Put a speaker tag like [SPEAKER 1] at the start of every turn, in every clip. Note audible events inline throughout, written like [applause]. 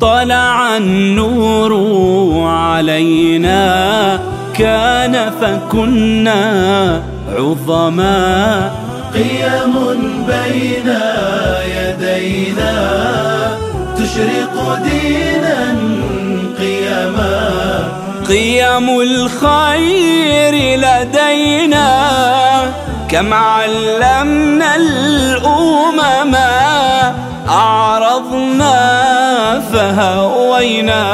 [SPEAKER 1] طلع النور علينا كان فكنا عظما
[SPEAKER 2] قيم بين يدينا تشرق دينا قيما
[SPEAKER 1] قيم الخير لدينا كم علمنا الأمم أعرضنا فهوينا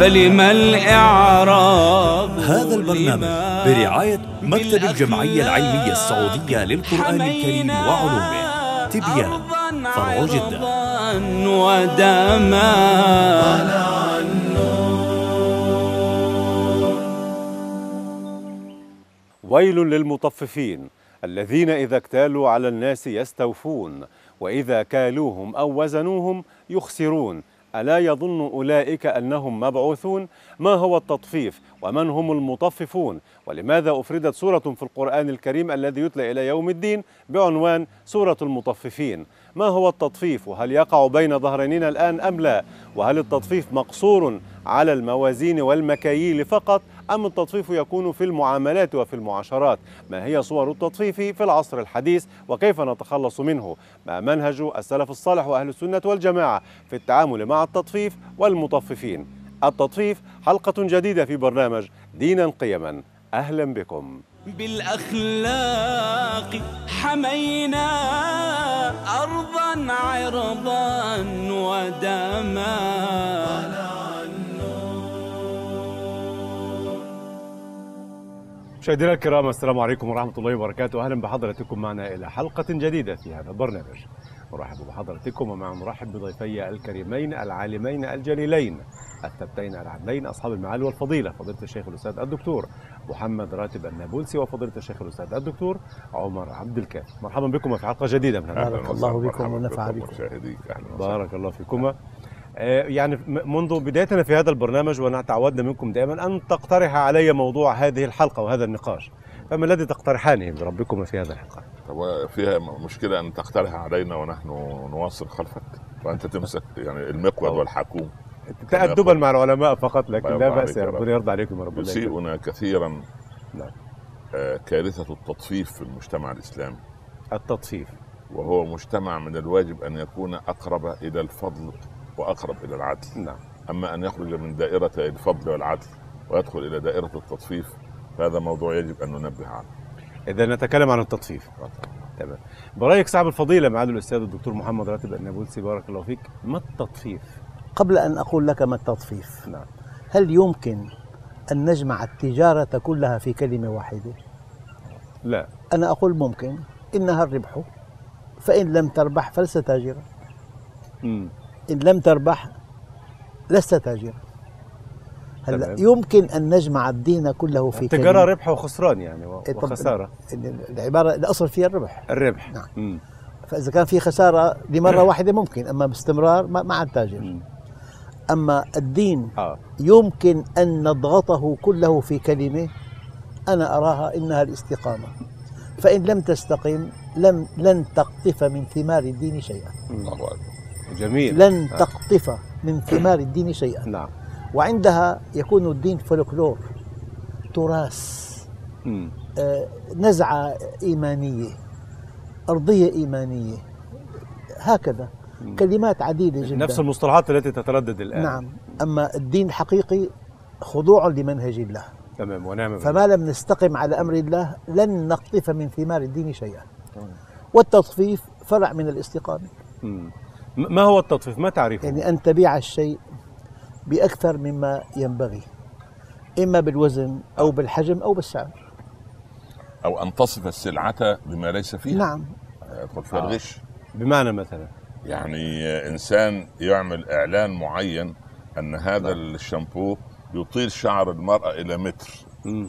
[SPEAKER 1] فلم الإعراض
[SPEAKER 3] هذا البرنامج
[SPEAKER 1] لما
[SPEAKER 3] برعاية مكتب
[SPEAKER 1] بالأفلام
[SPEAKER 3] الجمعية العلمية السعودية للقرآن الكريم
[SPEAKER 1] حمينا
[SPEAKER 3] وعلومه تبيان
[SPEAKER 1] أرضاً
[SPEAKER 3] فرع جدة
[SPEAKER 1] عرضاً ودما
[SPEAKER 4] ويل للمطففين الذين إذا اكتالوا على الناس يستوفون وإذا كالوهم أو وزنوهم يخسرون ألا يظن أولئك أنهم مبعوثون ما هو التطفيف ومن هم المطففون ولماذا أفردت سورة في القرآن الكريم الذي يتلى إلى يوم الدين بعنوان سورة المطففين ما هو التطفيف وهل يقع بين ظهرانينا الآن أم لا وهل التطفيف مقصور على الموازين والمكاييل فقط أم التطفيف يكون في المعاملات وفي المعاشرات ما هي صور التطفيف في العصر الحديث وكيف نتخلص منه ما منهج السلف الصالح وأهل السنة والجماعة في التعامل مع التطفيف والمطففين التطفيف حلقة جديدة في برنامج دينا قيما أهلا بكم
[SPEAKER 1] بالأخلاق حمينا أرضا عرضا ودما
[SPEAKER 4] مشاهدينا الكرام السلام عليكم ورحمة الله وبركاته أهلا بحضراتكم معنا إلى حلقة جديدة في هذا البرنامج أرحب بحضراتكم ومع نرحب بضيفي الكريمين العالمين الجليلين الثبتين العدلين أصحاب المعالي والفضيلة فضيلة الشيخ الأستاذ الدكتور محمد راتب النابلسي وفضيلة الشيخ الأستاذ الدكتور عمر عبد الكافي مرحبا بكم في حلقة جديدة من هذا البرنامج.
[SPEAKER 5] بارك الله بكم ونفع بكم
[SPEAKER 6] مشاهديك اهلا وسهلا
[SPEAKER 4] بارك الله فيكما آه، يعني م- منذ بدايتنا في هذا البرنامج وانا تعودنا منكم دائما ان تقترح علي موضوع هذه الحلقه وهذا النقاش فما الذي تقترحانه بربكما في هذا الحلقه؟
[SPEAKER 6] طب فيها مشكله ان تقترح علينا ونحن نواصل خلفك وانت تمسك يعني المقود والحكوم
[SPEAKER 4] تأدبا مع العلماء فقط لكن
[SPEAKER 6] الله
[SPEAKER 4] لا
[SPEAKER 6] يرضى
[SPEAKER 4] باس يا
[SPEAKER 6] عليك يا رب.
[SPEAKER 4] ربنا يرضى عليكم يا رب الله يكرمك.
[SPEAKER 6] يسيئنا كثيرا
[SPEAKER 4] نعم.
[SPEAKER 6] آه، كارثه التطفيف في المجتمع الاسلامي
[SPEAKER 4] التطفيف
[SPEAKER 6] وهو مجتمع من الواجب ان يكون اقرب الى الفضل واقرب الى العدل
[SPEAKER 4] نعم
[SPEAKER 6] اما ان يخرج من دائره الفضل والعدل ويدخل الى دائره التطفيف فهذا موضوع يجب ان ننبه عنه
[SPEAKER 4] اذا نتكلم عن التطفيف تمام برايك صاحب الفضيله معالي الاستاذ الدكتور محمد راتب النابلسي بارك الله فيك ما التطفيف؟
[SPEAKER 5] قبل أن أقول لك ما التطفيف
[SPEAKER 4] نعم.
[SPEAKER 5] هل يمكن أن نجمع التجارة كلها في كلمة واحدة؟
[SPEAKER 4] لا
[SPEAKER 5] أنا أقول ممكن إنها الربح فإن لم تربح فلست تاجرا
[SPEAKER 4] امم
[SPEAKER 5] إن لم تربح لست تاجرا هلا
[SPEAKER 4] تمام.
[SPEAKER 5] يمكن أن نجمع الدين كله في
[SPEAKER 4] التجاره
[SPEAKER 5] كلمة
[SPEAKER 4] ربح وخسران يعني و-
[SPEAKER 5] إيه، طب-
[SPEAKER 4] وخساره
[SPEAKER 5] إن العبارة الأصل فيها الربح
[SPEAKER 4] الربح
[SPEAKER 5] نعم.
[SPEAKER 4] مم.
[SPEAKER 5] فإذا كان في خسارة
[SPEAKER 4] [coughs]
[SPEAKER 5] لمرة واحدة ممكن أما باستمرار ما ما عاد تاجر
[SPEAKER 4] مم.
[SPEAKER 5] أما الدين
[SPEAKER 4] اه
[SPEAKER 5] يمكن أن نضغطه كله في كلمة أنا أراها إنها الاستقامة فإن لم تستقم لم لن تقطف من ثمار الدين شيئا
[SPEAKER 6] الله اكبر
[SPEAKER 4] جميل
[SPEAKER 5] لن
[SPEAKER 4] آه.
[SPEAKER 5] تقطف من ثمار الدين شيئا
[SPEAKER 4] نعم
[SPEAKER 5] وعندها يكون الدين فولكلور تراث
[SPEAKER 4] مم.
[SPEAKER 5] آه، نزعة إيمانية أرضية إيمانية هكذا كلمات عديدة جدا
[SPEAKER 4] نفس المصطلحات التي تتردد الان
[SPEAKER 5] نعم أما الدين الحقيقي خضوع لمنهج الله
[SPEAKER 4] تمام ونعم بالله.
[SPEAKER 5] فما لم نستقم على امر الله لن نقطف من ثمار الدين شيئا. والتطفيف فرع من الاستقامه،
[SPEAKER 4] مم. م- ما هو التطفيف؟ ما تعريفه؟
[SPEAKER 5] يعني ان تبيع الشيء باكثر مما ينبغي. اما بالوزن او بالحجم او بالسعر.
[SPEAKER 6] او ان تصف السلعه بما ليس فيها
[SPEAKER 5] نعم
[SPEAKER 6] يدخل فيها
[SPEAKER 4] آه.
[SPEAKER 6] الغش
[SPEAKER 4] بمعنى مثلا
[SPEAKER 6] يعني انسان يعمل اعلان معين ان هذا
[SPEAKER 4] نعم.
[SPEAKER 6] الشامبو يطيل شعر المراه الى متر
[SPEAKER 4] مم.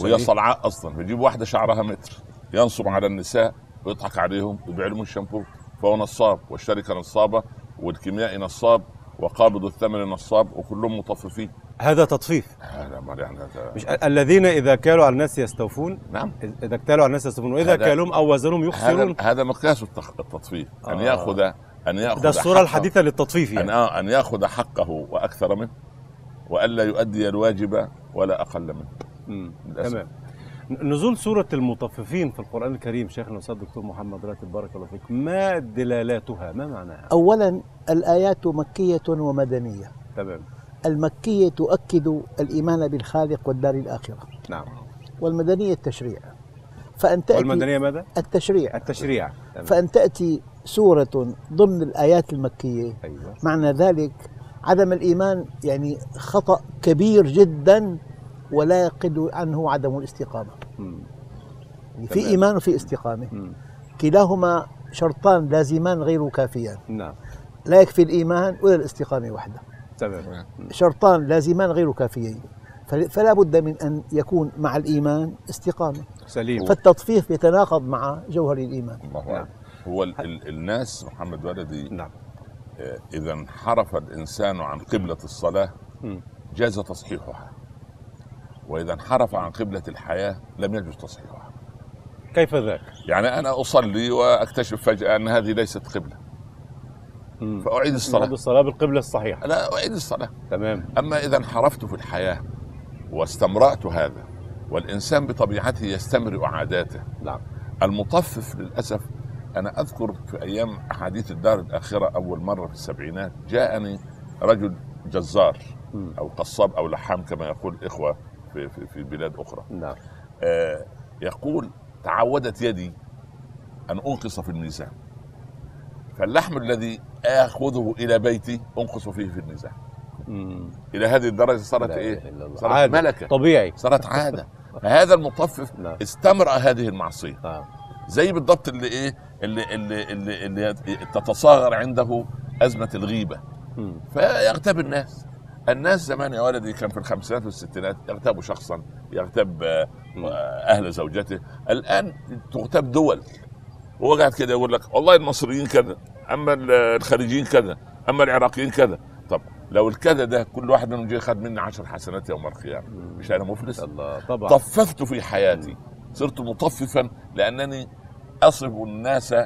[SPEAKER 6] وهي
[SPEAKER 4] صحيح.
[SPEAKER 6] صلعاء اصلا فيجيب واحده شعرها متر ينصب على النساء ويضحك عليهم ويبيع لهم الشامبو فهو نصاب والشركه نصابه والكيميائي نصاب وقابض الثمن نصاب وكلهم مطففين
[SPEAKER 4] هذا تطفيف
[SPEAKER 6] هذا ما يعني هذا
[SPEAKER 4] مش ال- الذين اذا كالوا على الناس يستوفون
[SPEAKER 6] نعم
[SPEAKER 4] إذ- اذا اكتالوا على الناس يستوفون واذا
[SPEAKER 6] هذا-
[SPEAKER 4] كالوهم او وزنهم
[SPEAKER 6] هذا
[SPEAKER 4] يخسرون
[SPEAKER 6] هذا مقياس التخ- التطفيف ان
[SPEAKER 4] آه.
[SPEAKER 6] ياخذ ان ياخذ
[SPEAKER 4] ده الصورة
[SPEAKER 6] حقه-
[SPEAKER 4] الحديثة للتطفيف
[SPEAKER 6] ان
[SPEAKER 4] يعني
[SPEAKER 6] آه ان ياخذ حقه واكثر منه والا يؤدي الواجب ولا اقل منه
[SPEAKER 4] مم.
[SPEAKER 6] للأسف.
[SPEAKER 4] تمام نزول سورة المطففين في القرآن الكريم شيخنا الأستاذ الدكتور محمد راتب بارك الله فيك ما دلالاتها ما معناها؟
[SPEAKER 5] أولا الآيات مكية ومدنية
[SPEAKER 4] تمام
[SPEAKER 5] المكية تؤكد الإيمان بالخالق والدار الآخرة
[SPEAKER 4] نعم
[SPEAKER 5] والمدنية التشريع فأن تأتي
[SPEAKER 4] والمدنية ماذا؟
[SPEAKER 5] التشريع
[SPEAKER 4] التشريع تمام.
[SPEAKER 5] فأن تأتي سورة ضمن الآيات المكية
[SPEAKER 4] أيوة
[SPEAKER 5] معنى ذلك عدم الإيمان يعني خطأ كبير جدا ولا يقل عنه عدم الاستقامة
[SPEAKER 4] مم.
[SPEAKER 5] يعني في
[SPEAKER 4] تمام.
[SPEAKER 5] إيمان وفي استقامة
[SPEAKER 4] مم.
[SPEAKER 5] كلاهما شرطان لازمان غير كافيان
[SPEAKER 4] نعم
[SPEAKER 5] لا يكفي الإيمان ولا الاستقامة وحدها
[SPEAKER 4] تمام
[SPEAKER 5] شرطان لازمان غير كافيين فل- فلا بد من أن يكون مع الإيمان استقامة
[SPEAKER 4] سليم
[SPEAKER 5] فالتطفيف يتناقض مع جوهر الإيمان
[SPEAKER 6] الله
[SPEAKER 4] نعم.
[SPEAKER 6] اكبر هو ال- ال- الناس محمد ولدي
[SPEAKER 4] نعم
[SPEAKER 6] آه، اذا انحرف الانسان عن قبله الصلاه
[SPEAKER 4] مم.
[SPEAKER 6] جاز تصحيحها واذا انحرف عن قبله الحياه لم يجوز تصحيحها
[SPEAKER 4] كيف ذاك؟
[SPEAKER 6] يعني انا اصلي واكتشف فجاه ان هذه ليست قبله
[SPEAKER 4] مم. نعم.
[SPEAKER 6] فاعيد
[SPEAKER 4] نعود
[SPEAKER 6] الصلاه
[SPEAKER 4] الصلاة بالقبلة الصحيحة
[SPEAKER 6] لا اعيد الصلاه
[SPEAKER 4] تمام
[SPEAKER 6] أما إذا انحرفت في الحياة واستمرأت هذا والإنسان بطبيعته يستمر عاداته
[SPEAKER 4] نعم.
[SPEAKER 6] المطفف للأسف أنا أذكر في أيام أحاديث الدار الآخرة أول مرة في السبعينات جاءني رجل جزار
[SPEAKER 4] مم.
[SPEAKER 6] أو قصاب أو لحام كما يقول إخوة في, في, في بلاد أخرى
[SPEAKER 4] نعم
[SPEAKER 6] آه يقول تعودت يدي أن أنقص في الميزان فاللحم الذي آخذه إلى بيتي أنقص فيه في الميزان
[SPEAKER 4] مم.
[SPEAKER 6] الى هذه الدرجه صارت
[SPEAKER 4] لا
[SPEAKER 6] ايه؟
[SPEAKER 4] إله إلا الله.
[SPEAKER 6] صارت
[SPEAKER 4] عادة.
[SPEAKER 6] ملكه
[SPEAKER 4] طبيعي
[SPEAKER 6] صارت
[SPEAKER 4] [laughs]
[SPEAKER 6] عاده فهذا المطفف
[SPEAKER 4] نعم.
[SPEAKER 6] استمرأ هذه المعصيه
[SPEAKER 4] نعم
[SPEAKER 6] زي بالضبط اللي ايه؟ اللي اللي اللي, اللي تتصاغر عنده ازمه الغيبه
[SPEAKER 4] مم.
[SPEAKER 6] فيغتاب الناس الناس زمان يا ولدي كان في الخمسينات والستينات يغتابوا شخصا يغتاب آه،
[SPEAKER 4] مم.
[SPEAKER 6] اهل زوجته الان تغتاب دول هو قاعد كده يقول لك والله المصريين كذا اما ال- الخليجيين كذا اما العراقيين كذا طب لو الكذا ده كل واحد منهم جه خد مني عشر حسنات يوم القيامه مش انا مفلس
[SPEAKER 4] الله طبعا
[SPEAKER 6] طففت في حياتي صرت مطففا لانني اصف الناس ب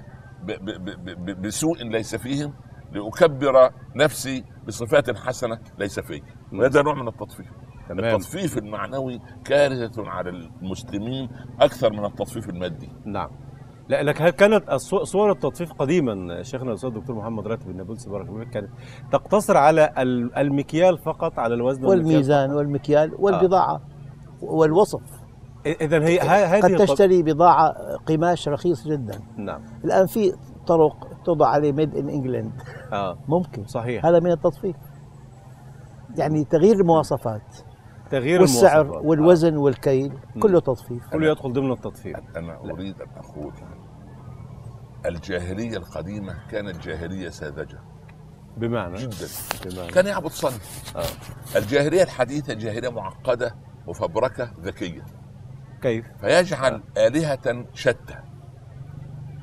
[SPEAKER 6] ب ب ب بسوء ليس فيهم لاكبر نفسي بصفات حسنه ليس في وهذا نوع من التطفيف
[SPEAKER 4] تمام
[SPEAKER 6] التطفيف المعنوي كارثه على المسلمين اكثر من التطفيف المادي
[SPEAKER 4] نعم لا لك هل كانت الصو- صور التطفيف قديما شيخنا الاستاذ الدكتور محمد راتب النابلسي بارك الله فيك كانت تقتصر على ال- المكيال فقط على الوزن
[SPEAKER 5] والميزان والمكيال
[SPEAKER 4] آه.
[SPEAKER 5] والبضاعة والوصف
[SPEAKER 4] اذا هي ه- هذه
[SPEAKER 5] قد
[SPEAKER 4] الط-
[SPEAKER 5] تشتري بضاعة قماش رخيص جدا
[SPEAKER 4] نعم
[SPEAKER 5] الآن في طرق توضع عليه ميد إن إنجلند
[SPEAKER 4] اه
[SPEAKER 5] ممكن
[SPEAKER 4] صحيح
[SPEAKER 5] هذا من التطفيف يعني تغيير المواصفات
[SPEAKER 4] تغيير
[SPEAKER 5] والسعر
[SPEAKER 4] المواصفات.
[SPEAKER 5] والوزن والكيل كله تطفيف
[SPEAKER 4] آه. كله يدخل ضمن التطفيف
[SPEAKER 6] انا اريد ان اقول الجاهليه القديمه كانت جاهليه ساذجه
[SPEAKER 4] بمعنى
[SPEAKER 6] جدا
[SPEAKER 4] بمعنى
[SPEAKER 6] كان يعبد صنم الجاهليه الحديثه جاهليه معقده مفبركه ذكيه
[SPEAKER 4] كيف
[SPEAKER 6] فيجعل آلهة شتى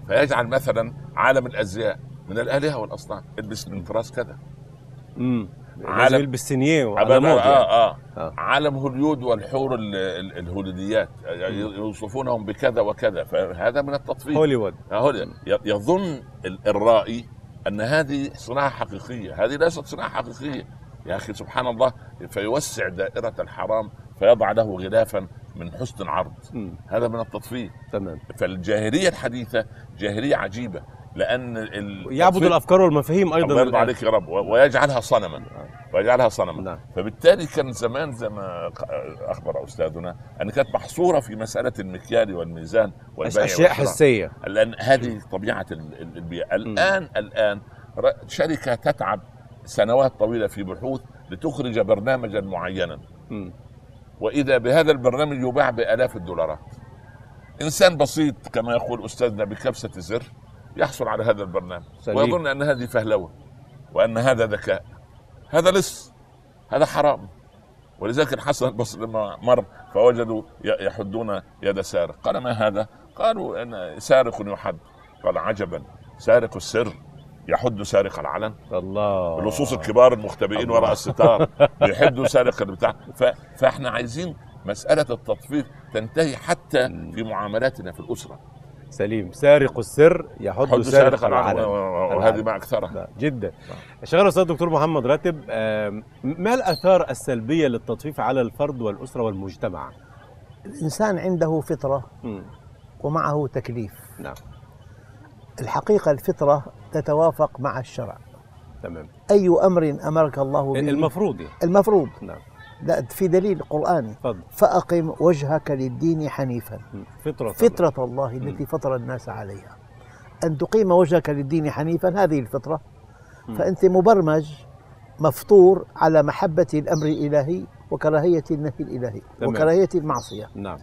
[SPEAKER 6] فيجعل مثلا عالم الأزياء من الآلهة والأصنام البس من فراس كذا
[SPEAKER 4] امم
[SPEAKER 6] عالم-
[SPEAKER 4] عالم بالسينيه وعلى
[SPEAKER 6] عالم
[SPEAKER 4] مود يعني.
[SPEAKER 6] آه, آه.
[SPEAKER 4] آه.
[SPEAKER 6] عالم هوليود والحور ال- ال- الهوليوديات يوصفونهم بكذا وكذا فهذا من التطفيف
[SPEAKER 4] هوليوود
[SPEAKER 6] هولي- ي- يظن ال- الرائي ان هذه صناعه حقيقيه، هذه ليست صناعه حقيقيه. يا اخي سبحان الله فيوسع دائره الحرام فيضع له غلافا من حسن العرض.
[SPEAKER 4] مم.
[SPEAKER 6] هذا من التطفيف.
[SPEAKER 4] تمام
[SPEAKER 6] فالجاهليه الحديثه جاهليه عجيبه لان ال...
[SPEAKER 4] يعبد الافكار والمفاهيم ايضا
[SPEAKER 6] الله يرضى
[SPEAKER 4] الآن.
[SPEAKER 6] عليك يا رب و- ويجعلها صنما ويجعلها صنما
[SPEAKER 4] نعم.
[SPEAKER 6] فبالتالي كان زمان زي ما ق- اخبر استاذنا ان كانت محصوره في مساله المكيال والميزان
[SPEAKER 4] أش-
[SPEAKER 6] والبيع
[SPEAKER 4] اشياء
[SPEAKER 6] والشراء.
[SPEAKER 4] حسيه
[SPEAKER 6] الان هذه طبيعه ال- ال- البيئه الان الان ر- شركه تتعب سنوات طويله في بحوث لتخرج برنامجا معينا
[SPEAKER 4] مم.
[SPEAKER 6] واذا بهذا البرنامج يباع بالاف الدولارات انسان بسيط كما يقول استاذنا بكبسه زر يحصل على هذا البرنامج
[SPEAKER 4] سليم.
[SPEAKER 6] ويظن ان هذه فهلوه وان هذا ذكاء هذا لص هذا حرام ولذلك الحسن البصري لما مر فوجدوا ي- يحدون يد سارق قال ما هذا قالوا ان سارق يحد قال عجبا سارق السر يحد سارق العلن
[SPEAKER 4] الله
[SPEAKER 6] اللصوص الكبار المختبئين
[SPEAKER 4] آه. الله.
[SPEAKER 6] وراء الستار بيحدوا سارق البتاع ف... فاحنا عايزين مساله التطفيف تنتهي حتى في معاملاتنا في الاسره
[SPEAKER 4] سليم سارق السر يحد
[SPEAKER 6] حد
[SPEAKER 4] سارق نعم.
[SPEAKER 6] سارق
[SPEAKER 4] العلم
[SPEAKER 6] العلم وهذه ما اكثرها
[SPEAKER 4] لا، جدا شغال استاذ دكتور محمد راتب آم، ما الاثار السلبيه للتطفيف على الفرد والاسره والمجتمع
[SPEAKER 5] الإنسان عنده فطرة
[SPEAKER 4] مم.
[SPEAKER 5] ومعه تكليف
[SPEAKER 4] نعم
[SPEAKER 5] الحقيقة الفطرة تتوافق مع الشرع
[SPEAKER 4] تمام
[SPEAKER 5] أي أمر أمرك الله به
[SPEAKER 4] المفروض يعني.
[SPEAKER 5] المفروض
[SPEAKER 4] نعم
[SPEAKER 5] لا في دليل قرآني
[SPEAKER 4] تفضل
[SPEAKER 5] فأقم وجهك للدين حنيفا
[SPEAKER 4] مم. فطره
[SPEAKER 5] فطرة الله التي فطر الناس عليها أن تقيم وجهك للدين حنيفا هذه الفطرة فأنت مبرمج مفطور على محبة الأمر الإلهي وكراهية النهي الإلهي
[SPEAKER 4] تمام.
[SPEAKER 5] وكراهية المعصية
[SPEAKER 4] نعم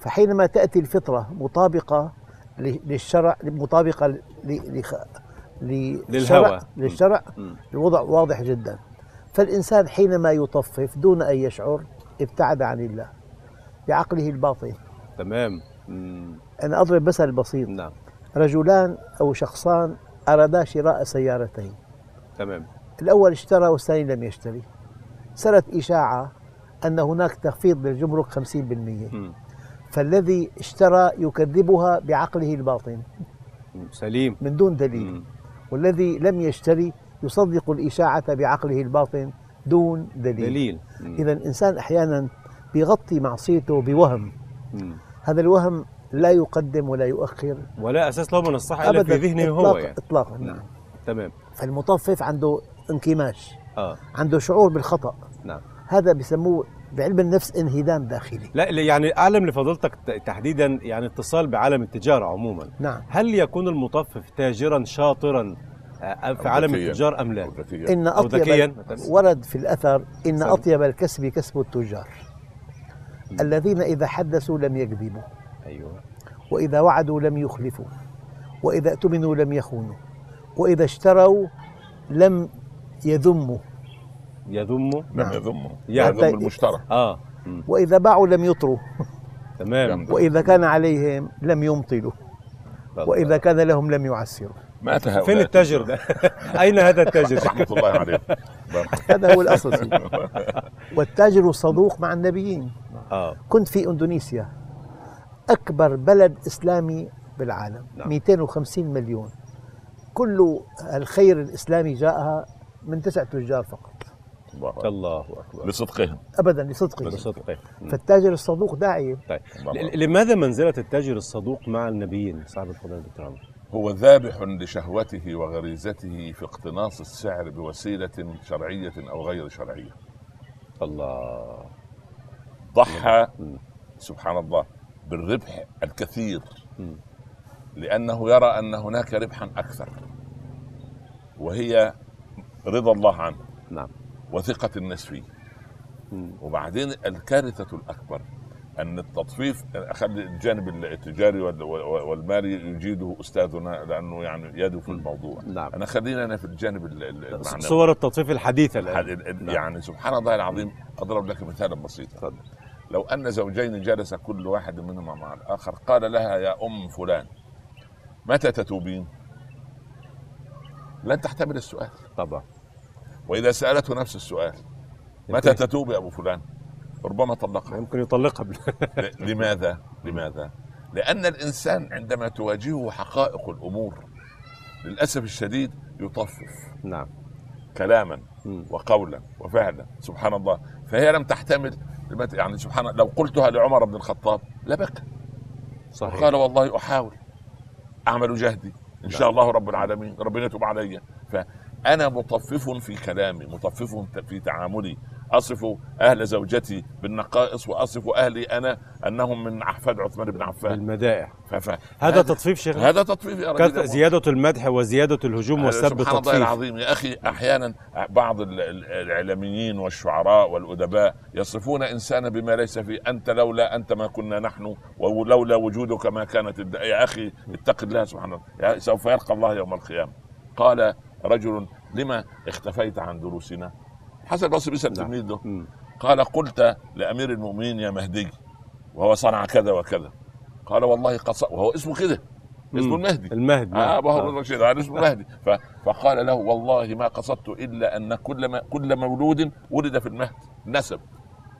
[SPEAKER 5] فحينما تأتي الفطرة مطابقة ل- للشرع مطابقة ل- لخ... ل-
[SPEAKER 4] للهوى.
[SPEAKER 5] للشرع
[SPEAKER 4] مم.
[SPEAKER 5] الوضع واضح جدا فالإنسان حينما يطفف دون أن يشعر ابتعد عن الله بعقله الباطن
[SPEAKER 4] تمام مم.
[SPEAKER 5] أنا أضرب مثل بسيط
[SPEAKER 4] نعم
[SPEAKER 5] رجلان أو شخصان أرادا شراء سيارتين
[SPEAKER 4] تمام
[SPEAKER 5] الأول اشترى والثاني لم يشتري سرت إشاعة أن هناك تخفيض للجمرك 50%
[SPEAKER 4] مم.
[SPEAKER 5] فالذي اشترى يكذبها بعقله الباطن
[SPEAKER 4] مم. سليم
[SPEAKER 5] من دون دليل
[SPEAKER 4] مم.
[SPEAKER 5] والذي لم يشتري يصدق الإشاعة بعقله الباطن دون دليل
[SPEAKER 4] دليل مم.
[SPEAKER 5] إذا الإنسان أحيانا بيغطي معصيته بوهم
[SPEAKER 4] مم.
[SPEAKER 5] هذا الوهم لا يقدم ولا يؤخر
[SPEAKER 4] ولا اساس له من الصحه الا
[SPEAKER 5] أبدا
[SPEAKER 4] في ذهنه
[SPEAKER 5] إطلاق-
[SPEAKER 4] هو يعني
[SPEAKER 5] إطلاقا نعم
[SPEAKER 4] تمام
[SPEAKER 5] فالمطفف عنده انكماش
[SPEAKER 4] اه
[SPEAKER 5] عنده شعور بالخطأ
[SPEAKER 4] نعم
[SPEAKER 5] هذا بسموه بعلم النفس انهدام داخلي
[SPEAKER 4] لا لا، يعني اعلم لفضيلتك ت- تحديدا يعني اتصال بعالم التجاره عموما
[SPEAKER 5] نعم
[SPEAKER 4] هل يكون المطفف تاجرا شاطرا آه، في عالم
[SPEAKER 6] ذكياً.
[SPEAKER 4] التجار ام لا؟
[SPEAKER 6] ذكية.
[SPEAKER 5] إن
[SPEAKER 4] أو ذكياً.
[SPEAKER 5] أطيب ورد في الأثر إن
[SPEAKER 4] سلام.
[SPEAKER 5] أطيب الكسب كسب التجار الذين إذا حدثوا لم يكذبوا
[SPEAKER 4] ايوه
[SPEAKER 5] وإذا وعدوا لم يخلفوا وإذا اؤتمنوا لم يخونوا وإذا اشتروا لم يذموا
[SPEAKER 4] يذمه
[SPEAKER 6] لم
[SPEAKER 5] نعم.
[SPEAKER 6] يذمه
[SPEAKER 4] يعني-
[SPEAKER 6] يذم المشترى
[SPEAKER 4] اه
[SPEAKER 5] وإذا باعوا لم يطروا
[SPEAKER 4] تمام
[SPEAKER 6] جامد.
[SPEAKER 5] وإذا كان عليهم لم يمطلوا وإذا كان لهم لم يعسروا
[SPEAKER 6] مات هؤلاء
[SPEAKER 4] فين التاجر ده؟ [laughs] اين هذا التاجر؟
[SPEAKER 6] رحمة
[SPEAKER 4] [laughs]
[SPEAKER 6] الله عليه
[SPEAKER 5] هذا هو الأصل فيه. والتاجر صدوق مع النبيين
[SPEAKER 4] اه
[SPEAKER 5] كنت في اندونيسيا اكبر بلد اسلامي بالعالم
[SPEAKER 4] نعم.
[SPEAKER 5] نعم. 250 مليون كل الخير الاسلامي جاءها من تسع تجار فقط
[SPEAKER 6] الله أكبر.
[SPEAKER 4] الله اكبر
[SPEAKER 6] لصدقهم
[SPEAKER 5] ابدا لصدقه
[SPEAKER 4] بصدقه
[SPEAKER 5] فالتاجر الصدوق داعيه
[SPEAKER 4] طيب
[SPEAKER 6] الله أكبر.
[SPEAKER 4] ل- لماذا منزله التاجر الصدوق مع النبيين صاحب الفضيله دكتور عمر؟
[SPEAKER 6] هو ذابح لشهوته وغريزته في اقتناص السعر بوسيلة شرعية أو غير شرعية
[SPEAKER 4] الله
[SPEAKER 6] ضحى
[SPEAKER 4] مم.
[SPEAKER 6] سبحان الله بالربح الكثير
[SPEAKER 4] مم.
[SPEAKER 6] لأنه يرى أن هناك ربحا أكثر وهي رضا الله عنه
[SPEAKER 4] نعم.
[SPEAKER 6] وثقة الناس فيه
[SPEAKER 4] مم.
[SPEAKER 6] وبعدين الكارثة الأكبر أن التطفيف أخلي الجانب التجاري وال- وال- والمالي يجيده أستاذنا لأنه يعني يده في الموضوع
[SPEAKER 4] نعم
[SPEAKER 6] أنا خلينا أنا في الجانب ال- ال- المعنوي
[SPEAKER 4] صور التطفيف الحديثه الان
[SPEAKER 6] حد- ال-
[SPEAKER 4] نعم.
[SPEAKER 6] يعني سبحان الله العظيم اضرب لك مثالا بسيطا
[SPEAKER 4] تفضل.
[SPEAKER 6] لو ان زوجين جلس كل واحد منهما مع الاخر قال لها يا ام فلان متى تتوبين؟ لن تحتمل السؤال
[SPEAKER 4] طبعا
[SPEAKER 6] واذا سالته نفس السؤال متى
[SPEAKER 4] يمكن-
[SPEAKER 6] تتوب يا ابو فلان؟ ربما طلقها
[SPEAKER 4] يمكن يطلقها [laughs] بال-
[SPEAKER 6] ل- لماذا؟ لماذا؟ لأن الإنسان عندما تواجهه حقائق الأمور للأسف الشديد يطفف
[SPEAKER 4] نعم
[SPEAKER 6] كلاما
[SPEAKER 4] مم.
[SPEAKER 6] وقولا وفعلا سبحان الله فهي لم تحتمل لمت- يعني سبحان الله لو قلتها لعمر بن الخطاب لبكى
[SPEAKER 4] صحيح
[SPEAKER 6] قال والله احاول اعمل جهدي ان شاء الله رب العالمين ربنا يتوب علي فانا مطفف في كلامي مطفف في تعاملي اصف اهل زوجتي بالنقائص واصف اهلي انا انهم من احفاد عثمان بن عفان
[SPEAKER 4] المدائح
[SPEAKER 6] ف- ف-
[SPEAKER 4] هذا تطفيف شيخ
[SPEAKER 6] هذا تطفيف يا
[SPEAKER 4] كانت
[SPEAKER 6] رجل
[SPEAKER 4] زيادة المدح وزيادة الهجوم
[SPEAKER 6] هذا
[SPEAKER 4] والسب
[SPEAKER 6] آه، سبحان الله
[SPEAKER 4] تطفيف
[SPEAKER 6] العظيم يا اخي احيانا بعض ال- ال- الاعلاميين والشعراء والادباء يصفون انسانا بما ليس فيه انت لولا انت ما كنا نحن ولولا وجودك ما كانت الد... يا اخي اتق الله سبحان الله يا- سوف يلقى الله يوم القيامه قال رجل لما اختفيت عن دروسنا حسن البصري بيسال
[SPEAKER 4] نعم.
[SPEAKER 6] تلميذه
[SPEAKER 4] مم.
[SPEAKER 6] قال قلت لامير المؤمنين يا مهدي وهو صنع كذا وكذا قال والله قد ص- وهو اسمه كده
[SPEAKER 4] مم.
[SPEAKER 6] اسمه المهدي
[SPEAKER 4] المهد
[SPEAKER 6] اه
[SPEAKER 4] نعم.
[SPEAKER 6] ما هو الرشيد على اسمه مهدي ف- فقال له والله ما قصدت الا ان كل ما كل مولود ولد في المهد نسب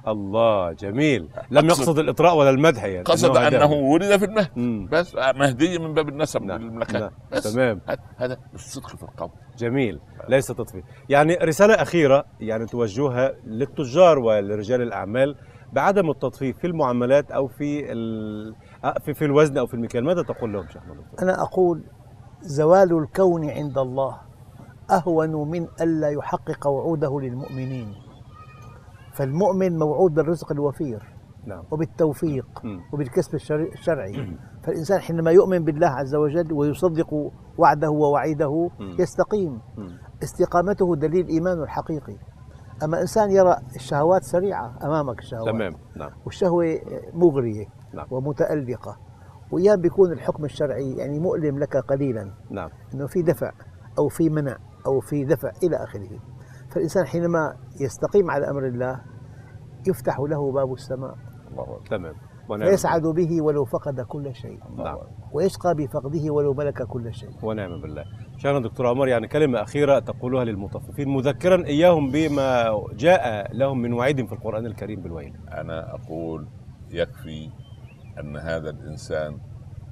[SPEAKER 4] الله جميل لم يقصد الاطراء ولا المدح يعني
[SPEAKER 6] قصد
[SPEAKER 4] هذا-
[SPEAKER 6] انه ولد في المهد
[SPEAKER 4] مم.
[SPEAKER 6] بس آه، مهدي من باب النسب
[SPEAKER 4] نعم،
[SPEAKER 6] للملكات
[SPEAKER 4] نعم،
[SPEAKER 6] بس
[SPEAKER 4] تمام.
[SPEAKER 6] هذا- هذا الصدق في القول
[SPEAKER 4] جميل ليس تطفي يعني رسالة أخيرة يعني توجهها للتجار ولرجال الأعمال بعدم التطفيف في المعاملات أو في ال... آه، في, في الوزن أو في المكيال ماذا تقول لهم شيخنا دكتور؟
[SPEAKER 5] أنا أقول زوال الكون عند الله أهون من ألا يحقق وعوده للمؤمنين فالمؤمن موعود بالرزق الوفير
[SPEAKER 4] نعم
[SPEAKER 5] وبالتوفيق
[SPEAKER 4] مم.
[SPEAKER 5] وبالكسب الشرع- الشرعي فالإنسان حينما يؤمن بالله عز وجل ويصدق وعده ووعيده
[SPEAKER 4] مم.
[SPEAKER 5] يستقيم
[SPEAKER 4] مم.
[SPEAKER 5] استقامته دليل إيمانه الحقيقي أما إنسان يرى الشهوات سريعة أمامك الشهوات
[SPEAKER 4] تمام نعم
[SPEAKER 5] والشهوة مغرية
[SPEAKER 4] نعم.
[SPEAKER 5] ومتألقة وأيام بيكون الحكم الشرعي يعني مؤلم لك قليلا
[SPEAKER 4] نعم
[SPEAKER 5] أنه في دفع أو في منع أو في دفع إلى آخره فالإنسان حينما يستقيم على أمر الله يفتح له باب السماء
[SPEAKER 6] الله أكبر.
[SPEAKER 4] تمام ونعم
[SPEAKER 5] فيسعد به ولو فقد كل شيء
[SPEAKER 4] نعم
[SPEAKER 5] ويشقى بفقده ولو ملك كل شيء
[SPEAKER 4] ونعم بالله شكرا دكتور عمر يعني كلمة أخيرة تقولها للمطففين مذكرا إياهم بما جاء لهم من وعيد في القرآن الكريم بالويل
[SPEAKER 6] انا اقول يكفي ان هذا الانسان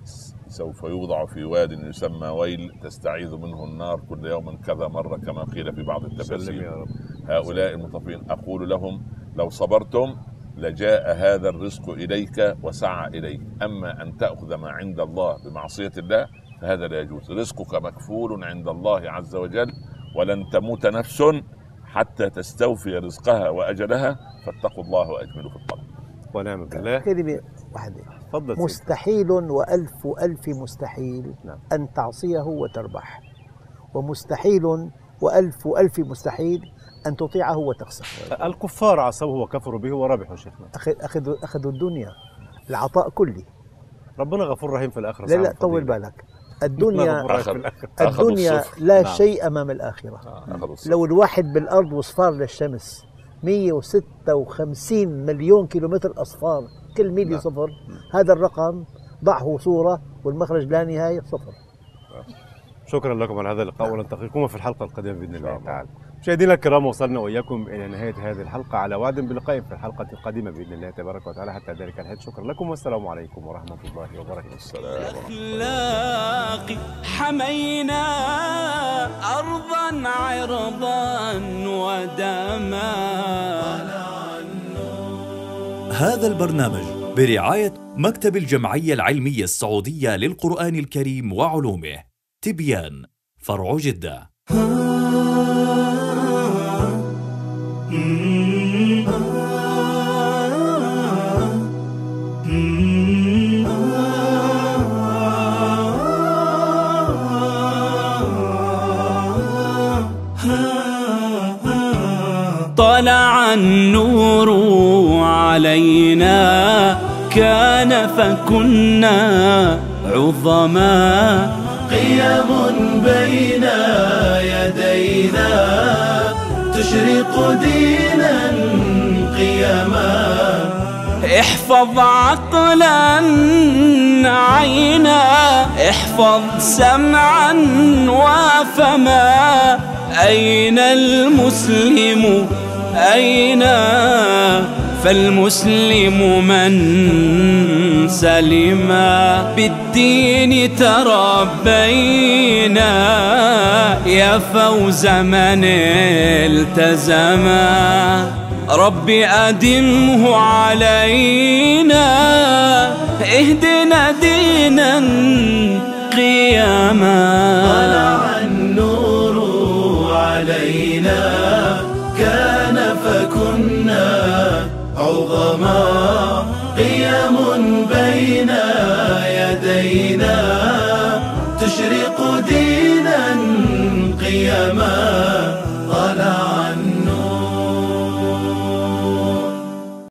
[SPEAKER 6] س- سوف يوضع في واد يسمى ويل تستعيذ منه النار كل يوم كذا مره كما قيل في بعض
[SPEAKER 4] سلم
[SPEAKER 6] التفاسير
[SPEAKER 4] يا رب
[SPEAKER 6] هؤلاء المطفئين اقول لهم لو صبرتم لجاء هذا الرزق اليك وسعى اليك اما ان تاخذ ما عند الله بمعصيه الله فهذا لا يجوز رزقك مكفول عند الله عز وجل ولن تموت نفس حتى تستوفي رزقها واجلها فاتقوا الله واجملوا في الطلب
[SPEAKER 4] ونعم بالله
[SPEAKER 5] كلمة واحدة
[SPEAKER 4] تفضل سيدي.
[SPEAKER 5] مستحيل وألف ألف مستحيل
[SPEAKER 4] نعم.
[SPEAKER 5] أن تعصيه وتربح ومستحيل وألف ألف مستحيل أن تطيعه وتخسر
[SPEAKER 4] الكفار عصوه وكفروا به وربحوا شيخنا
[SPEAKER 5] أخذ- أخذوا أخذوا الدنيا العطاء كلي
[SPEAKER 4] ربنا غفور رحيم في الآخرة
[SPEAKER 5] لا
[SPEAKER 4] سعد
[SPEAKER 5] لا طول
[SPEAKER 4] فضيلة.
[SPEAKER 5] بالك الدنيا
[SPEAKER 4] ربنا غفور رحيم في
[SPEAKER 6] آخر.
[SPEAKER 4] الآخرة.
[SPEAKER 6] أخذوا
[SPEAKER 5] الدنيا
[SPEAKER 6] الصفر.
[SPEAKER 5] لا
[SPEAKER 4] نعم.
[SPEAKER 5] شيء أمام الآخرة
[SPEAKER 6] اخذوا الصدق.
[SPEAKER 5] لو الواحد بالأرض وصفار للشمس 156 مليون كيلومتر أصفار كل ميلي
[SPEAKER 4] نعم.
[SPEAKER 5] صفر هذا الرقم ضعه صورة والمخرج لا نهاية صفر
[SPEAKER 4] شكرا لكم على هذا اللقاء ونلتقيكم في الحلقة القادمة بإذن الله
[SPEAKER 6] الله.
[SPEAKER 4] تعالى مشاهدينا الكرام وصلنا وإياكم إلى نهاية هذه الحلقة على وعد بلقاء في الحلقة القادمة بإذن الله تبارك وتعالى حتى ذلك الحين شكرا لكم والسلام عليكم ورحمة الله وبركاته
[SPEAKER 1] أخلاقي حمينا أرضا عرضا ودما
[SPEAKER 3] هذا البرنامج برعاية مكتب الجمعية العلمية السعودية للقرآن الكريم وعلومه تبيان فرع جده
[SPEAKER 1] طلع النور علينا كان فكنا عظما
[SPEAKER 2] قيم بين يدينا تشرق دينا قيما
[SPEAKER 1] احفظ عقلا عينا احفظ سمعا وفما أين المسلم أين فالمسلم من سلم بالدين تربينا يا فوز من التزما رب أدمه علينا اهدنا دينا قياما
[SPEAKER 2] طلع النور علينا كان فكنا عظما قيم بين يدينا